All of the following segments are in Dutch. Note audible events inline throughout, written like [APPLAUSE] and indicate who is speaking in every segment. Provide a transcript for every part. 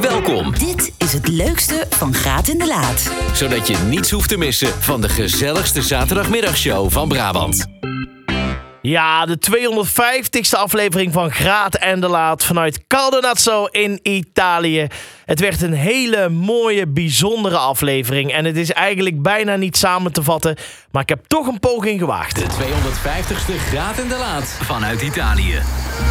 Speaker 1: Welkom,
Speaker 2: Dit is het leukste van Graat in de Laat.
Speaker 1: zodat je niets hoeft te missen van de gezelligste zaterdagmiddagshow van Brabant.
Speaker 3: Ja, de 250ste aflevering van Graat en de Laat vanuit Caldonazzo in Italië. Het werd een hele mooie, bijzondere aflevering. En het is eigenlijk bijna niet samen te vatten. Maar ik heb toch een poging gewaagd.
Speaker 1: De 250ste Graat en de Laat vanuit Italië.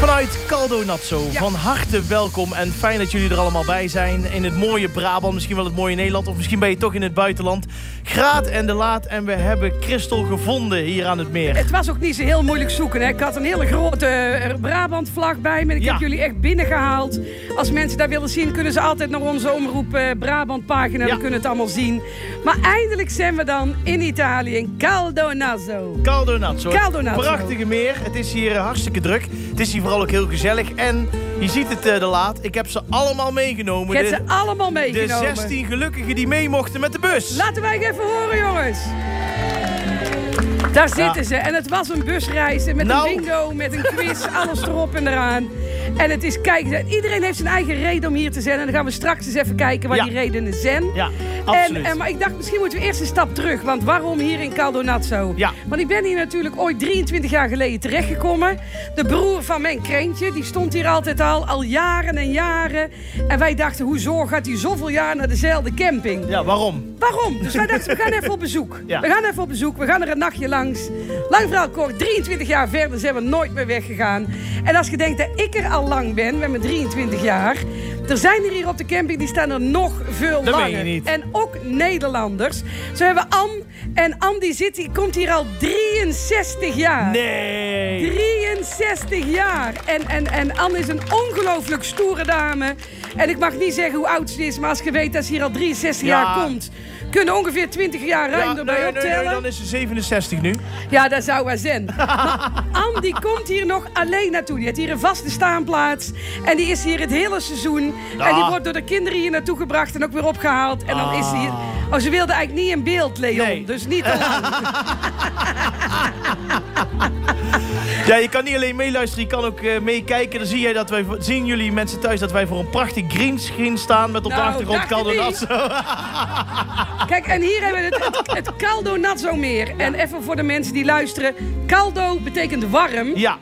Speaker 3: Vanuit Caldonazzo, van harte welkom. En fijn dat jullie er allemaal bij zijn. In het mooie Brabant, misschien wel het mooie Nederland. Of misschien ben je toch in het buitenland. Graat en de Laat. En we hebben Christel gevonden hier aan het meer.
Speaker 4: Het was ook niet zo heel moeilijk zoeken. Hè? Ik had een hele grote eh, Brabant-vlag bij me. Ik
Speaker 3: Ja.
Speaker 4: heb jullie echt binnengehaald. Als mensen dat willen zien, kunnen ze altijd naar onze omroep eh, Brabant-pagina.
Speaker 3: Ja.
Speaker 4: Dan kunnen het allemaal zien. Maar eindelijk zijn we dan in Italië, in Caldonazzo.
Speaker 3: Caldonazzo.
Speaker 4: Caldonazzo.
Speaker 3: Prachtige meer. Het is hier eh, hartstikke druk. Het is hier vooral ook heel gezellig. En je ziet het eh, de laat. Ik heb ze allemaal
Speaker 4: Ik
Speaker 3: meegenomen.
Speaker 4: heb
Speaker 3: De-
Speaker 4: ze allemaal
Speaker 3: de
Speaker 4: meegenomen.
Speaker 3: 16 gelukkigen die mee mochten met de bus.
Speaker 4: Laten wij even horen, jongens. Daar zitten ze. En het was een busreis en met
Speaker 3: Nou.
Speaker 4: een bingo, met een
Speaker 3: [LAUGHS]
Speaker 4: quiz, alles erop en eraan. En het is kijken. Iedereen heeft zijn eigen reden om hier te zijn. En dan gaan we straks eens even kijken waar
Speaker 3: Ja.
Speaker 4: die redenen zijn.
Speaker 3: Ja,
Speaker 4: En,
Speaker 3: absoluut.
Speaker 4: eh, maar ik dacht, misschien moeten we eerst een stap terug. Want waarom hier in Caldonazzo?
Speaker 3: Ja.
Speaker 4: Want ik ben hier natuurlijk ooit 23 jaar geleden terechtgekomen. De broer van mijn krentje, die stond hier altijd al, al jaren en jaren. En wij dachten, hoezo gaat hij zoveel jaar naar dezelfde camping?
Speaker 3: Ja, waarom?
Speaker 4: Waarom? Dus wij dachten, we gaan even op bezoek.
Speaker 3: [LAUGHS] Ja.
Speaker 4: We gaan even op bezoek, we gaan er een nachtje langs. Lang verhaal kort, 23 jaar verder zijn we nooit meer weggegaan. En als je denkt dat ik er al lang ben, met mijn 23 jaar... Er zijn er hier op de camping, die staan er nog veel
Speaker 3: Dat meen je
Speaker 4: langer.
Speaker 3: niet.
Speaker 4: En ook Nederlanders. Zo hebben we An. En An die zit, die komt hier al 63 jaar.
Speaker 3: Nee.
Speaker 4: 63 jaar. En, en, en Anne is een ongelooflijk stoere dame. En ik mag niet zeggen hoe oud ze is, maar als je weet dat ze hier al 63
Speaker 3: Ja.
Speaker 4: jaar komt, kunnen ongeveer 20 jaar ruim
Speaker 3: Ja, nee,
Speaker 4: erbij
Speaker 3: nee, nee,
Speaker 4: optellen.
Speaker 3: dan is ze 67 nu.
Speaker 4: Ja, dat zou wel zijn.
Speaker 3: [LAUGHS]
Speaker 4: Maar Anne die komt hier nog alleen naartoe. Die heeft hier een vaste staanplaats. En die is hier het hele seizoen. En die
Speaker 3: Ah.
Speaker 4: wordt door de kinderen hier naartoe gebracht en ook weer opgehaald. En dan is ze hier...
Speaker 3: Ah.
Speaker 4: Oh, ze wilde eigenlijk niet in beeld, Leon.
Speaker 3: Nee. [LAUGHS]
Speaker 4: Dus niet te lang.
Speaker 3: Ja, je kan niet alleen meeluisteren, je kan ook eh, meekijken. Dan zie jij dat wij, voor- zien jullie mensen thuis dat wij voor een prachtig greenscreen staan met op de
Speaker 4: Nou,
Speaker 3: achtergrond
Speaker 4: dacht je niet?
Speaker 3: Caldonazzo.
Speaker 4: Kijk, en hier hebben we het, het, het Caldo Nazzo meer. En even voor de mensen die luisteren. Caldo betekent warm.
Speaker 3: [LAUGHS] Ja,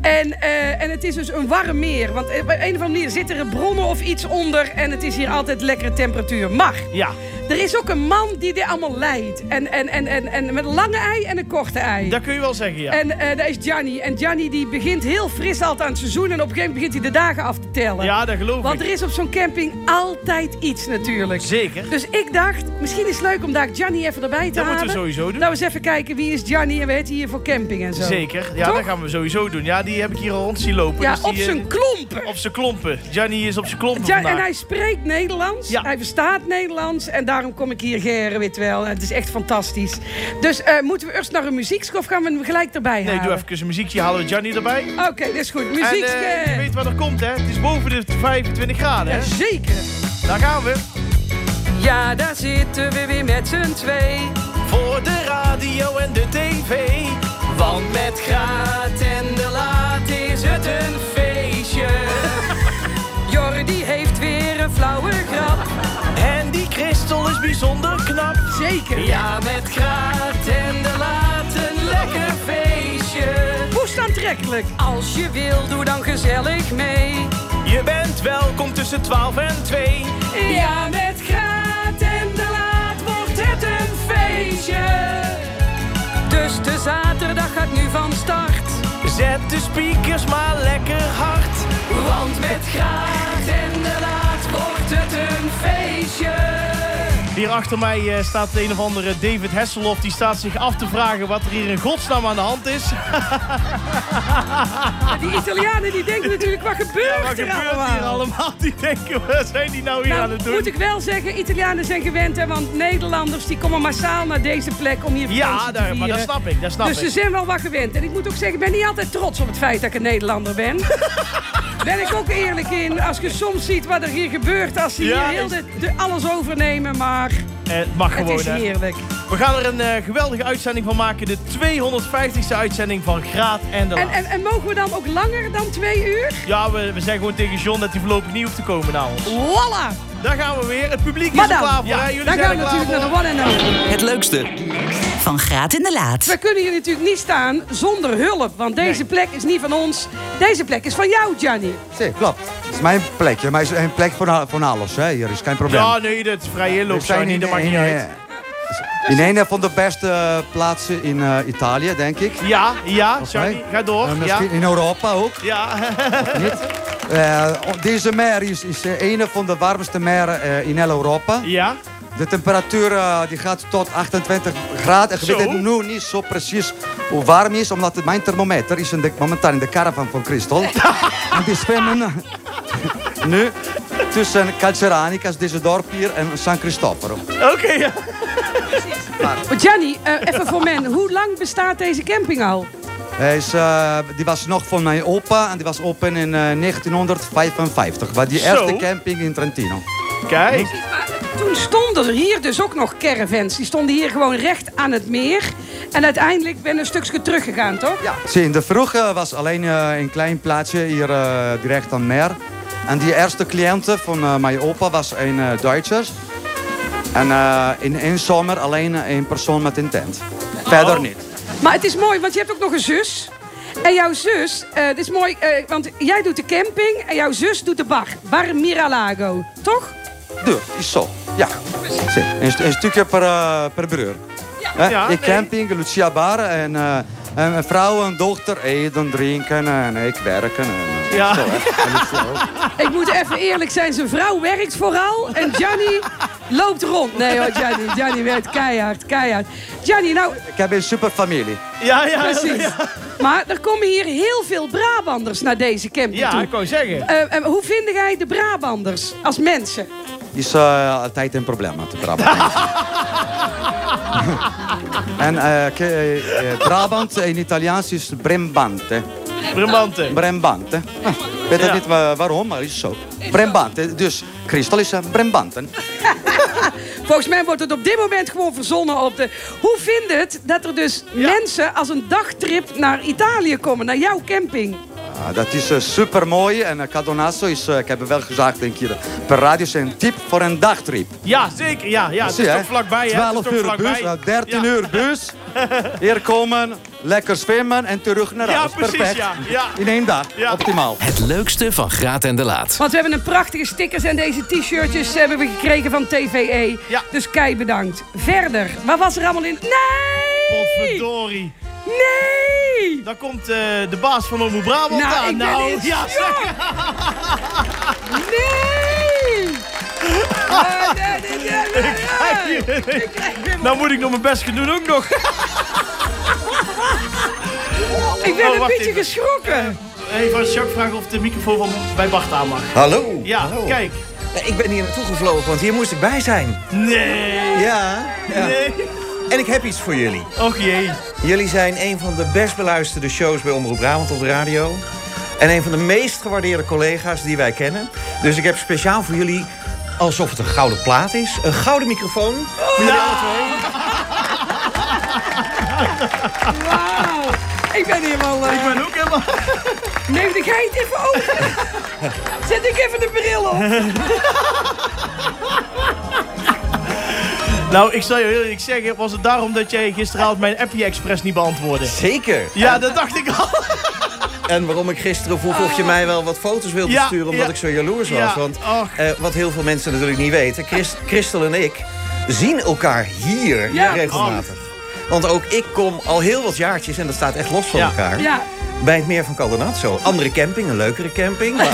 Speaker 4: En, eh, en het is dus een warm meer. Want eh, op een of andere manier zitten er bronnen of iets onder. En het is hier altijd lekkere temperatuur. Maar
Speaker 3: ja.
Speaker 4: er is ook een man die dit allemaal leidt. En, en, en, en, en met een lange ei en een korte ei.
Speaker 3: Dat kun je wel zeggen, ja.
Speaker 4: En eh dat is Gianni. En Gianni die begint heel fris altijd aan het seizoen. En op een gegeven moment begint hij de dagen af te tellen.
Speaker 3: Ja, dat geloof
Speaker 4: Want
Speaker 3: ik.
Speaker 4: er is op zo'n camping altijd iets natuurlijk.
Speaker 3: Zeker.
Speaker 4: Dus ik dacht, misschien is het leuk om daar Gianni even erbij te
Speaker 3: Dat
Speaker 4: halen.
Speaker 3: moeten we sowieso doen.
Speaker 4: Nou, eens even kijken wie is Gianni en weet hij hier voor camping en zo.
Speaker 3: Zeker. Ja,
Speaker 4: Toch?
Speaker 3: dat gaan we sowieso doen. Ja, die heb ik hier al rond zien lopen.
Speaker 4: Ja,
Speaker 3: dus die,
Speaker 4: op
Speaker 3: eh,
Speaker 4: zijn klompen.
Speaker 3: Op zijn klompen. Gianni is op zijn klompen
Speaker 4: Ja,
Speaker 3: vandaag.
Speaker 4: en hij spreekt Nederlands.
Speaker 3: Ja.
Speaker 4: Hij verstaat Nederlands. En daarom kom ik hier geren, weet wel. Het is echt fantastisch. Dus eh, moeten we eerst naar een muziekske of gaan we hem gelijk erbij
Speaker 3: Nee, doe
Speaker 4: halen?
Speaker 3: even een muziekje. Halen we Gianni erbij.
Speaker 4: Oké, dat is goed.
Speaker 3: En
Speaker 4: Muziekske.
Speaker 3: eh, je weet wat er komt, hè? Het is boven de 25 graden, hè?
Speaker 4: Zeker.
Speaker 3: Daar gaan we.
Speaker 4: Ja, daar zitten we weer met z'n twee.
Speaker 3: Voor de radio en de tv.
Speaker 5: Want met graat en de laat is het een feestje.
Speaker 4: Jordi heeft weer een flauwe grap.
Speaker 3: En die Christel is bijzonder knap.
Speaker 4: Zeker.
Speaker 5: Ja, met graat en de laat een lekker feestje.
Speaker 4: Woest aantrekkelijk. Als je wil, doe dan gezellig mee.
Speaker 3: Je bent welkom tussen 12 en 2.
Speaker 4: Ja, met graat en de laat wordt het een feestje. Dus de zaterdag gaat nu van start.
Speaker 3: Zet de speakers maar lekker hard.
Speaker 4: Want met graat en de laat wordt het een feestje.
Speaker 3: Hier achter mij eh, staat een of andere David Hasselhoff. Die staat zich af te vragen wat er hier in godsnaam aan de hand is.
Speaker 4: Ah, Die Italianen die denken natuurlijk, wat gebeurt,
Speaker 3: wat
Speaker 4: er
Speaker 3: gebeurt
Speaker 4: allemaal?
Speaker 3: hier allemaal? [LAUGHS] Die denken, wat zijn die nou hier
Speaker 4: Nou,
Speaker 3: aan het doen?
Speaker 4: moet ik wel zeggen, Italianen zijn gewend, hè, want Nederlanders die komen massaal naar deze plek om hier vakantie
Speaker 3: Ja,
Speaker 4: te
Speaker 3: daar,
Speaker 4: vieren.
Speaker 3: maar dat snap ik. Dat snap
Speaker 4: dus
Speaker 3: ik. [LAUGHS]
Speaker 4: ze zijn wel wat gewend. En ik moet ook zeggen, ik ben niet altijd trots op het feit dat ik een Nederlander ben. ben ik ook eerlijk in. Als je soms ziet wat er hier gebeurt, als ze
Speaker 3: Ja, dus-
Speaker 4: hier heel
Speaker 3: is-
Speaker 4: de, de- alles overnemen, maar
Speaker 3: Eh, het mag
Speaker 4: het
Speaker 3: gewoon,
Speaker 4: is
Speaker 3: hè.
Speaker 4: heerlijk.
Speaker 3: We gaan er een eh, geweldige uitzending van maken. De 250ste uitzending van Graat en de
Speaker 4: En,
Speaker 3: Laat.
Speaker 4: en, en mogen we dan ook langer dan twee uur?
Speaker 3: Ja, we, we zeggen gewoon tegen John dat hij voorlopig niet hoeft te komen naar ons.
Speaker 4: Voilà!
Speaker 3: Daar gaan we weer. Het publiek is
Speaker 4: Maar
Speaker 3: er
Speaker 4: dan,
Speaker 3: klaar voor.
Speaker 4: ja,
Speaker 3: hè? Jullie
Speaker 4: dan
Speaker 3: zijn
Speaker 4: gaan
Speaker 3: er
Speaker 4: we
Speaker 3: klaar
Speaker 4: natuurlijk naar
Speaker 3: voor.
Speaker 4: de one and only.
Speaker 1: Het leukste,
Speaker 2: Van Graat in de Laat.
Speaker 4: We kunnen hier natuurlijk niet staan zonder hulp, want deze plek is niet van ons. Deze plek is van jou, Gianni.
Speaker 6: Zie, klopt. Het is mijn plekje, maar het is een plek voor, na- voor alles. Hè. Hier is geen probleem.
Speaker 3: Ja, nee, dat is vrij heel
Speaker 6: We
Speaker 3: ook zo. niet, Dat maakt niet
Speaker 6: in,
Speaker 3: uit.
Speaker 6: eh, in een van de beste eh, plaatsen in eh, Italië, denk ik.
Speaker 3: Ja, ja,
Speaker 6: Volgens mij.
Speaker 3: Johnny, ga door.
Speaker 6: En
Speaker 3: ja.
Speaker 6: misschien in Europa ook.
Speaker 3: Ja, [LAUGHS]
Speaker 6: Eh, deze mer is, is eh, een van de warmste meren eh, in heel Europa.
Speaker 3: ja.
Speaker 6: De temperatuur eh, die gaat tot 28 graden. Ik
Speaker 3: Zo.
Speaker 6: weet het nu niet zo precies hoe warm het is, omdat mijn thermometer is in de, momenteel in de caravan van
Speaker 3: [LAUGHS]
Speaker 6: Christel. en die zwemmen eh, [LAUGHS] nu tussen Calceranicas, deze dorp hier, en San Cristoforo.
Speaker 3: Oké, ja.
Speaker 4: Maar Gianni, eh, even voor men, hoe lang bestaat deze camping al?
Speaker 6: Hij is, eh, die was nog van mijn opa en die was open in eh, 1955. Was die
Speaker 3: Zo.
Speaker 6: eerste camping in Trentino.
Speaker 3: Kijk.
Speaker 4: Toen stonden er hier dus ook nog caravans. Die stonden hier gewoon recht aan het meer. En uiteindelijk ben een stukje teruggegaan, toch? Ja.
Speaker 6: Zie, in de vroege was alleen eh, een klein plaatsje hier eh, direct aan Mer. En die eerste cliënten van eh, mijn opa was een eh Duitser. En eh, in één zomer alleen één persoon met een tent.
Speaker 3: Oh.
Speaker 6: Verder niet.
Speaker 4: Maar het is mooi, want je hebt ook nog een zus. En jouw zus, eh dit is mooi, eh, want jij doet de camping en jouw zus doet de bar. Bar Miralago, toch?
Speaker 6: Duur, is zo. Ja. Zie, een, st- een stukje per, eh, per broer. Hè?
Speaker 3: Ja,
Speaker 6: ik
Speaker 3: nee.
Speaker 6: camping, Lucia Bar en eh, en een vrouw en dochter eten, drinken en eh, ik werken. En, eh,
Speaker 3: Ja.
Speaker 6: zo, hè. En ik zo.
Speaker 4: Ik moet even eerlijk zijn, zijn vrouw werkt vooral en Gianni loopt rond. Nee hoor, Gianni, Gianni werkt keihard, keihard. Gianni, nou
Speaker 6: Ik heb een superfamilie.
Speaker 3: Ja, ja.
Speaker 4: precies. Maar er komen hier heel veel Brabanders naar deze camping
Speaker 3: Ja,
Speaker 4: toe.
Speaker 3: ik wou zeggen.
Speaker 4: Eh, eh, hoe vind jij de Brabanders als mensen?
Speaker 6: is eh, altijd een probleem met de
Speaker 3: [LAUGHS]
Speaker 6: Brabant. en eh, ke- eh, Brabant in Italiaans is Brembante.
Speaker 3: Bramante.
Speaker 6: Brembante. Ah, Ik weet
Speaker 3: Ja.
Speaker 6: ook niet wa- waarom, maar is zo. Brembante. Dus Christel is een Brembante.
Speaker 4: Volgens mij wordt het op dit moment gewoon verzonnen op de... Hoe vindt het dat er dus mensen als een dagtrip naar Italië komen, naar jouw camping?
Speaker 6: Ah, dat is super mooi. En eh, Cadonazzo is, eh, ik heb het wel gezegd een keer per radio, is een tip voor een dagtrip.
Speaker 3: Ja, zeker. Ja, ja. Het is
Speaker 6: Zie je,
Speaker 3: toch vlakbij, hè? Het is
Speaker 6: 12
Speaker 3: toch
Speaker 6: uur
Speaker 3: vlakbij.
Speaker 6: bus, eh, 13
Speaker 3: Ja.
Speaker 6: uur
Speaker 3: [LAUGHS]
Speaker 6: bus. Hier komen, lekker zwemmen en terug naar
Speaker 3: Ja,
Speaker 6: huis.
Speaker 3: precies,
Speaker 6: Perfect.
Speaker 3: ja, ja.
Speaker 6: In één dag.
Speaker 3: Ja.
Speaker 6: Optimaal.
Speaker 1: het leukste van Graat en de Laat.
Speaker 4: Want we hebben een prachtige stickers en deze t-shirtjes hebben we gekregen van TVE.
Speaker 3: Ja.
Speaker 4: Dus kei bedankt. Verder, wat was er allemaal in... Nee!
Speaker 3: Potverdorie.
Speaker 4: Nee!
Speaker 3: Daar komt eh, de baas van Omroep Brabant
Speaker 4: Nou,
Speaker 3: aan.
Speaker 4: ik ben in
Speaker 3: ja,
Speaker 4: shock.
Speaker 3: zeg. [LAUGHS]
Speaker 4: Nee! Eh, nee, nee, nee, nee, nee. Ik krijg weer-
Speaker 3: Nou moet ik nog mijn best gaan doen ook nog.
Speaker 4: Ik
Speaker 3: Oh,
Speaker 4: ben een
Speaker 3: wacht
Speaker 4: beetje
Speaker 3: even. [LAUGHS]
Speaker 4: geschrokken.
Speaker 3: Even aan Jacques vragen of de microfoon van bij Bart aan mag.
Speaker 7: Hallo.
Speaker 3: Ja,
Speaker 7: Hallo.
Speaker 3: kijk.
Speaker 7: Nee, Ik ben hier naartoe gevlogen, want hier moest ik bij zijn.
Speaker 3: Nee.
Speaker 7: Ja. ja.
Speaker 3: Nee.
Speaker 7: En ik heb iets voor jullie.
Speaker 3: Och jee.
Speaker 7: Jullie zijn een van de best beluisterde shows bij Omroep Brabant op de radio. En een van de meest gewaardeerde collega's die wij kennen. Dus ik heb speciaal voor jullie, alsof het een gouden plaat is, een gouden microfoon. Voor jullie alle twee.
Speaker 4: Wauw. Ik ben helemaal... eh,
Speaker 3: Ik ben ook helemaal...
Speaker 4: Neem de geit even open.
Speaker 3: [LAUGHS]
Speaker 4: Zet ik even de bril op.
Speaker 3: Nou, ik zal je heel eerlijk zeggen, was het daarom dat jij gisteravond mijn Appie Express niet beantwoordde?
Speaker 7: Zeker.
Speaker 3: Ja, dat dacht ik al.
Speaker 7: En waarom ik gisteren vroeg of je mij wel wat foto's wilde
Speaker 3: Ah. Ja,
Speaker 7: sturen... omdat
Speaker 3: ja.
Speaker 7: ik zo jaloers was.
Speaker 3: Ja,
Speaker 7: Want
Speaker 3: och.
Speaker 7: eh, wat heel veel mensen natuurlijk niet weten... Christ- Christel en ik zien elkaar hier
Speaker 4: Ja.
Speaker 7: regelmatig. Want ook ik kom al heel wat jaartjes, en dat staat echt los van
Speaker 3: Ja.
Speaker 7: elkaar...
Speaker 4: Ja.
Speaker 7: bij het meer van Caldenazzo. Andere camping, een leukere camping.
Speaker 3: [LAUGHS]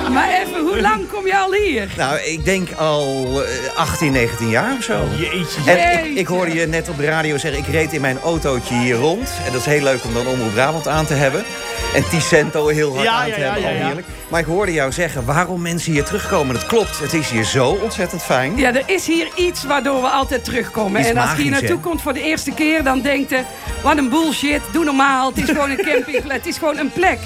Speaker 7: Maar,
Speaker 4: Maar even, hoe lang kom je al hier?
Speaker 7: nou, ik denk al eh, 18, 19 jaar of zo.
Speaker 3: Jeetje.
Speaker 7: En ik,
Speaker 4: Jeetje.
Speaker 7: ik hoorde je net op de radio zeggen, ik reed in mijn autootje hier rond. En dat is heel leuk om dan Omroep Brabant aan te hebben. En Ticento heel hard
Speaker 3: Ja,
Speaker 7: aan
Speaker 3: ja,
Speaker 7: te
Speaker 3: ja,
Speaker 7: hebben,
Speaker 3: ja,
Speaker 7: al
Speaker 3: ja.
Speaker 7: heerlijk. Maar ik hoorde jou zeggen waarom mensen hier terugkomen. Dat klopt, het is hier zo ontzettend fijn.
Speaker 4: Ja, er is hier iets waardoor we altijd terugkomen.
Speaker 7: Iets
Speaker 4: en als je hier
Speaker 7: magisch,
Speaker 4: naartoe
Speaker 7: hè?
Speaker 4: komt voor de eerste keer, dan denkt je... Wat een bullshit, doe normaal. Het is gewoon een campingplek, het is gewoon een plek.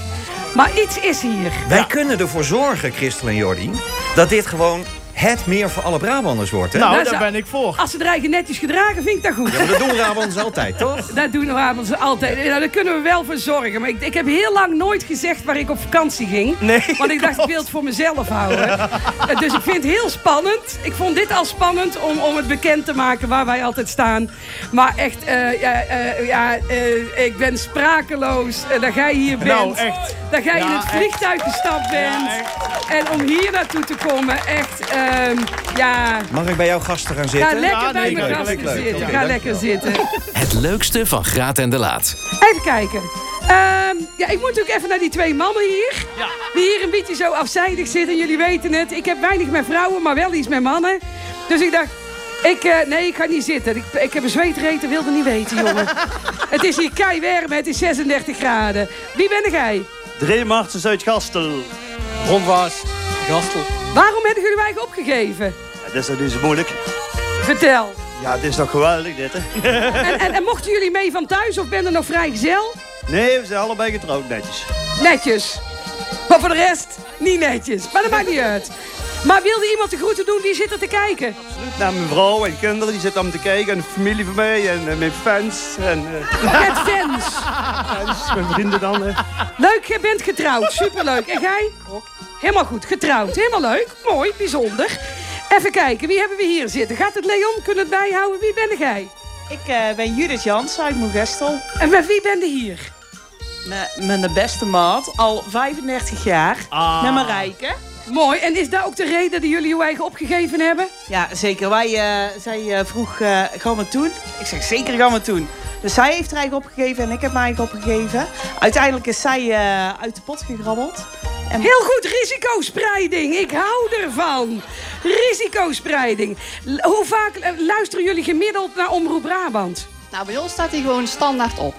Speaker 4: Maar iets is hier.
Speaker 7: Wij kunnen ervoor zorgen, Christel en Jordi, dat dit gewoon het meer voor alle Brabanders wordt. Hè?
Speaker 3: Nou,
Speaker 4: dat
Speaker 3: daar
Speaker 4: zou-
Speaker 3: ben ik voor.
Speaker 4: Als ze de eigen netjes gedragen, vind ik dat goed.
Speaker 7: Ja, maar dat doen Brabanders altijd, toch?
Speaker 4: Dat doen we avonds altijd. Nou, daar kunnen we wel voor zorgen. Maar ik, ik heb heel lang nooit gezegd waar ik op vakantie ging.
Speaker 3: Nee,
Speaker 4: Want ik dacht, ik wil het voor mezelf houden. Eh, dus ik vind het heel spannend. Ik vond dit al spannend om, om het bekend te maken waar wij altijd staan. Maar echt, eh, ja, eh, ja, eh, ik ben sprakeloos eh, dat jij hier bent.
Speaker 3: Nou, echt.
Speaker 4: Dat jij in
Speaker 3: Ja,
Speaker 4: het
Speaker 3: echt.
Speaker 4: vliegtuig gestapt bent. en om hier naartoe te komen, echt, ehm, ja...
Speaker 7: Mag ik bij jouw gasten gaan
Speaker 4: Ga
Speaker 7: zitten?
Speaker 4: lekker
Speaker 3: Ja,
Speaker 4: bij
Speaker 3: nee,
Speaker 4: mijn
Speaker 3: leuk,
Speaker 4: gasten
Speaker 7: leuk, leuk.
Speaker 4: zitten.
Speaker 7: Oké,
Speaker 4: Ga
Speaker 7: dankjewel.
Speaker 4: lekker zitten.
Speaker 1: Het leukste van Graat en de Laat.
Speaker 4: Even kijken. Ehm, ja, ik moet natuurlijk even naar die twee mannen hier. Die hier een beetje zo afzijdig zitten. Jullie weten het. Ik heb weinig met vrouwen, maar wel iets met mannen. Dus ik dacht, ik, eh, nee, ik ga niet zitten. Ik, ik heb een zweetreten, wilde niet weten, jongen. het is hier kei warm, het is 36 graden. Wie ben jij?
Speaker 8: Drie Martens uit Gastel. Rondwaas, Gastel.
Speaker 4: Waarom hebben jullie mij opgegeven?
Speaker 8: Het is toch niet zo moeilijk?
Speaker 4: Vertel.
Speaker 8: Ja, het is toch geweldig dit, hè?
Speaker 4: En, en, en mochten jullie mee van thuis of ben er nog vrijgezel?
Speaker 8: Nee, we zijn allebei getrouwd netjes.
Speaker 4: Netjes. Maar voor de rest, niet netjes. Maar dat maakt niet uit. Maar wilde iemand de groeten doen? Wie zit er te kijken?
Speaker 8: Naar mijn vrouw en kinderen, die zitten om te kijken. En de familie van mij en eh, mijn fans. En eh,
Speaker 4: Met
Speaker 8: [LAUGHS]
Speaker 4: fans.
Speaker 8: mijn vrienden dan, hè?
Speaker 4: Leuk, jij bent getrouwd. Superleuk. En jij? Helemaal goed, getrouwd. Helemaal leuk. Mooi, bijzonder. Even kijken, wie hebben we hier zitten? Gaat het Leon kunnen bijhouden? Wie ben jij?
Speaker 9: Ik eh, ben Judith Jans uit Moegestel.
Speaker 4: En met wie ben je hier?
Speaker 9: M- Mijn beste maat, al 35 jaar. Met Marijke.
Speaker 4: Mooi, en is dat ook de reden dat jullie uw eigen opgegeven hebben?
Speaker 9: Ja, zeker. Wij, eh, zij eh, vroeg, eh, gaan we het doen? Ik zeg, zeker gaan we het doen. Dus zij heeft haar eigen opgegeven en ik heb mijn eigen opgegeven. Uiteindelijk is zij eh, uit de pot gegrabbeld. En
Speaker 4: Heel goed, risicospreiding. Ik hou ervan. Risicospreiding. L- hoe vaak eh, luisteren jullie gemiddeld naar Omroep Brabant?
Speaker 10: Nou, bij ons staat hij gewoon standaard op.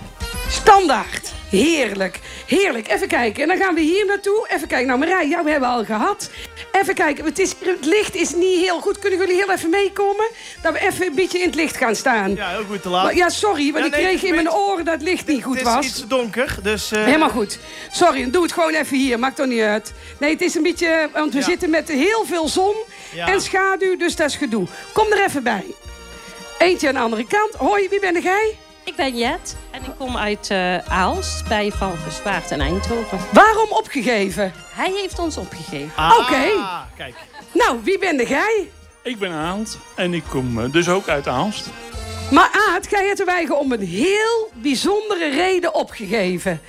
Speaker 4: Standaard. Heerlijk. Heerlijk. Even kijken. En dan gaan we hier naartoe. Even kijken. Nou, Marij, jou hebben we al gehad. Even kijken. Het, is, het licht is niet heel goed. Kunnen jullie heel even meekomen? Dat we even een beetje in het licht gaan staan.
Speaker 3: Ja, heel goed te
Speaker 4: Maar-
Speaker 3: laat.
Speaker 4: Ja, sorry, want
Speaker 3: Ja,
Speaker 4: ik
Speaker 3: nee,
Speaker 4: kreeg
Speaker 3: het is
Speaker 4: in mijn
Speaker 3: beter.
Speaker 4: oren dat het licht niet goed
Speaker 3: het is
Speaker 4: was.
Speaker 3: iets donker, dus... eh,
Speaker 4: Helemaal goed. Sorry, doe het gewoon even hier. Maakt toch niet uit. Nee, het is een beetje... Want we
Speaker 3: Ja.
Speaker 4: zitten met heel veel zon
Speaker 3: Ja.
Speaker 4: en schaduw, dus dat is gedoe. Kom er even bij. Eentje aan de andere kant. Hoi, wie ben jij?
Speaker 11: Ik ben Jet en ik kom uit eh Aalst bij Van Verswaard en Eindhoven.
Speaker 4: Waarom opgegeven?
Speaker 11: Hij heeft ons opgegeven.
Speaker 3: ah,
Speaker 4: oké.
Speaker 3: Kijk.
Speaker 4: Nou, wie ben jij?
Speaker 8: Ik ben Aand en ik kom dus ook uit Aalst.
Speaker 4: Maar Aad, jij hebt de eigen om een heel bijzondere reden opgegeven.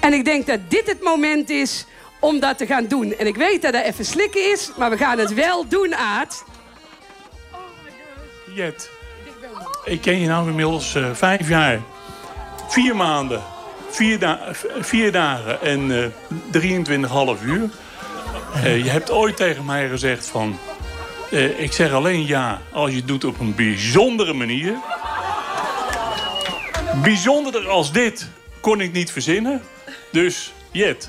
Speaker 4: En ik denk dat dit het moment is om dat te gaan doen. En ik weet dat dat even slikken is, maar we gaan het wel doen, Aad.
Speaker 8: Jet, ik ken je nou inmiddels eh, vijf jaar. Vier maanden, vier, da- v- vier dagen en eh 23,5 uur. Eh, je hebt ooit tegen mij gezegd van... eh, ik zeg alleen ja als je het doet op een bijzondere manier. Bijzonderder als dit kon ik niet verzinnen. Dus Jet...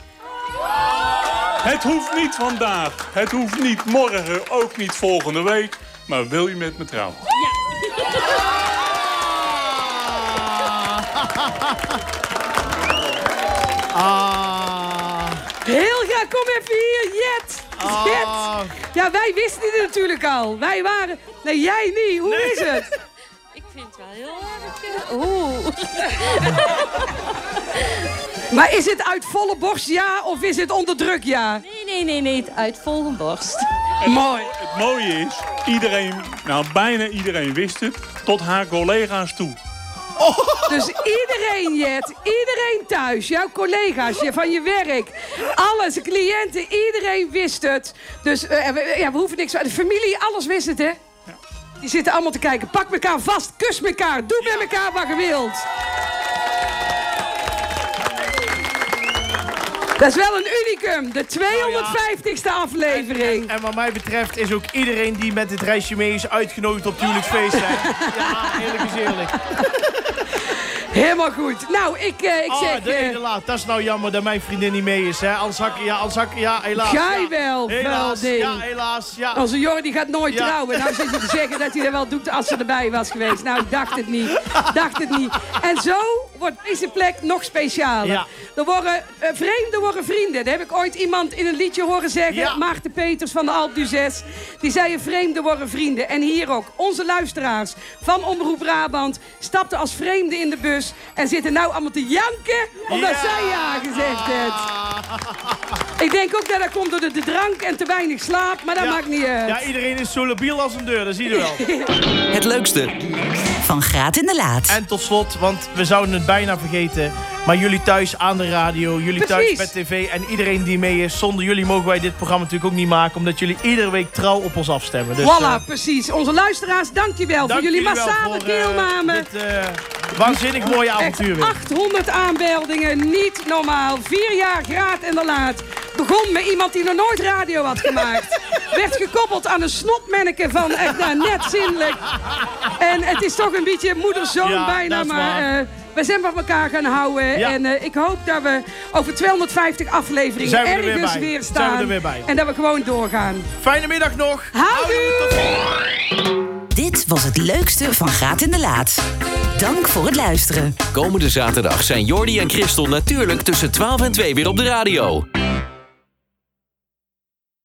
Speaker 8: Het hoeft niet vandaag, het hoeft niet morgen, ook niet volgende week. Maar wil je met me trouwen?
Speaker 3: Ah,
Speaker 4: Heel graag, kom even hier, Jet. Jet. Ja, wij wisten dit natuurlijk al. Wij waren... Nee, jij niet. Hoe is
Speaker 11: [LAUGHS]
Speaker 4: het?
Speaker 11: Ik vind het wel heel erg. eh, Oeh.
Speaker 4: [LAUGHS] Maar is het uit volle borst ja of is het onder druk ja?
Speaker 11: Nee, nee, nee, nee. het Uit volgenborst.
Speaker 4: Mooi.
Speaker 8: Het mooie is, iedereen, nou bijna iedereen wist het, tot haar collega's toe.
Speaker 4: Dus iedereen, Jet, iedereen thuis, jouw collega's, je van je werk, alles, cliënten, iedereen wist het. Dus eh, we, ja, we hoeven niks. De familie, alles wist het, hè? Die zitten allemaal te kijken. Pak elkaar vast, kus elkaar, doe met elkaar wat je wilt. Dat is wel een unicum, de 250ste aflevering.
Speaker 3: Nou En wat mij betreft is ook iedereen die met dit reisje mee is uitgenodigd op huwelijksfeest. hè. Ja, eerlijk is eerlijk.
Speaker 4: Helemaal goed. Nou, ik, eh, ik
Speaker 3: Ah,
Speaker 4: zeg...
Speaker 3: de
Speaker 4: eh,
Speaker 3: ene laat. Dat is nou jammer dat mijn vriendin niet mee is, hè. Anders had ik- ja, anders had ik- ja, helaas.
Speaker 4: Ga
Speaker 3: ja.
Speaker 4: je wel,
Speaker 3: Helaas,
Speaker 4: wel, nee.
Speaker 3: ja, helaas, ja.
Speaker 4: Onze Jordi gaat nooit
Speaker 3: Ja.
Speaker 4: trouwen. Nou zit je te zeggen dat hij dat wel doet als ze erbij was geweest. Nou, ik dacht het niet. Dacht het niet. En zo wordt deze plek nog specialer.
Speaker 3: Ja.
Speaker 4: Er worden, eh, vreemden worden vrienden. Dat heb ik ooit iemand in een liedje horen zeggen. Maarten Peters van de Alp du 6. Die zei, eh, vreemden worden vrienden. En hier ook, onze luisteraars van Omroep Brabant... stapten als vreemden in de bus en zitten nou allemaal te janken... omdat
Speaker 5: Ja.
Speaker 4: zij ja gezegd heeft. Ik denk ook dat dat komt door de, de drank en te weinig slaap. Maar dat
Speaker 3: Ja.
Speaker 4: maakt niet uit.
Speaker 3: Ja, iedereen is zo labiel als een deur, dat zie je
Speaker 4: [LAUGHS]
Speaker 3: wel.
Speaker 2: Het leukste. Van Graat in de Laat.
Speaker 3: En tot slot, want we zouden het bijna vergeten. Maar jullie thuis aan de radio, jullie thuis
Speaker 4: Precies.
Speaker 3: met tv en iedereen die mee is. Zonder jullie mogen wij dit programma natuurlijk ook niet maken. Omdat jullie iedere week trouw op ons afstemmen. Dus,
Speaker 4: voilà,
Speaker 3: eh,
Speaker 4: precies. Onze luisteraars, dankjewel
Speaker 3: dank
Speaker 4: voor jullie
Speaker 3: wel
Speaker 4: massale
Speaker 3: voor, eh,
Speaker 4: deelname.
Speaker 3: dit, eh, waanzinnig mooie avontuur weer.
Speaker 4: Echt 800 aanmeldingen, niet normaal. Vier jaar graad en de laat. Begon met iemand die nog nooit radio had
Speaker 3: [LAUGHS]
Speaker 4: gemaakt. Werd gekoppeld aan een snotmanneke van echt nou, net zinnelijk. En het is toch een beetje moeder-zoon
Speaker 5: Ja,
Speaker 4: bijna,
Speaker 5: dat is
Speaker 4: maar...
Speaker 5: waar.
Speaker 4: eh, we zijn van elkaar gaan houden.
Speaker 5: Ja.
Speaker 4: En eh, ik hoop dat we over 250 afleveringen
Speaker 3: Zijn we er weer
Speaker 4: ergens
Speaker 3: bij.
Speaker 4: weer
Speaker 3: Zijn we er
Speaker 4: staan.
Speaker 3: weer bij.
Speaker 4: En dat we gewoon doorgaan.
Speaker 3: Fijne middag nog.
Speaker 2: Dit was het leukste van Graat in de Laat. Dank voor het luisteren.
Speaker 1: Komende zaterdag zijn Jordi en Christel natuurlijk tussen 12 en 2 weer op de radio.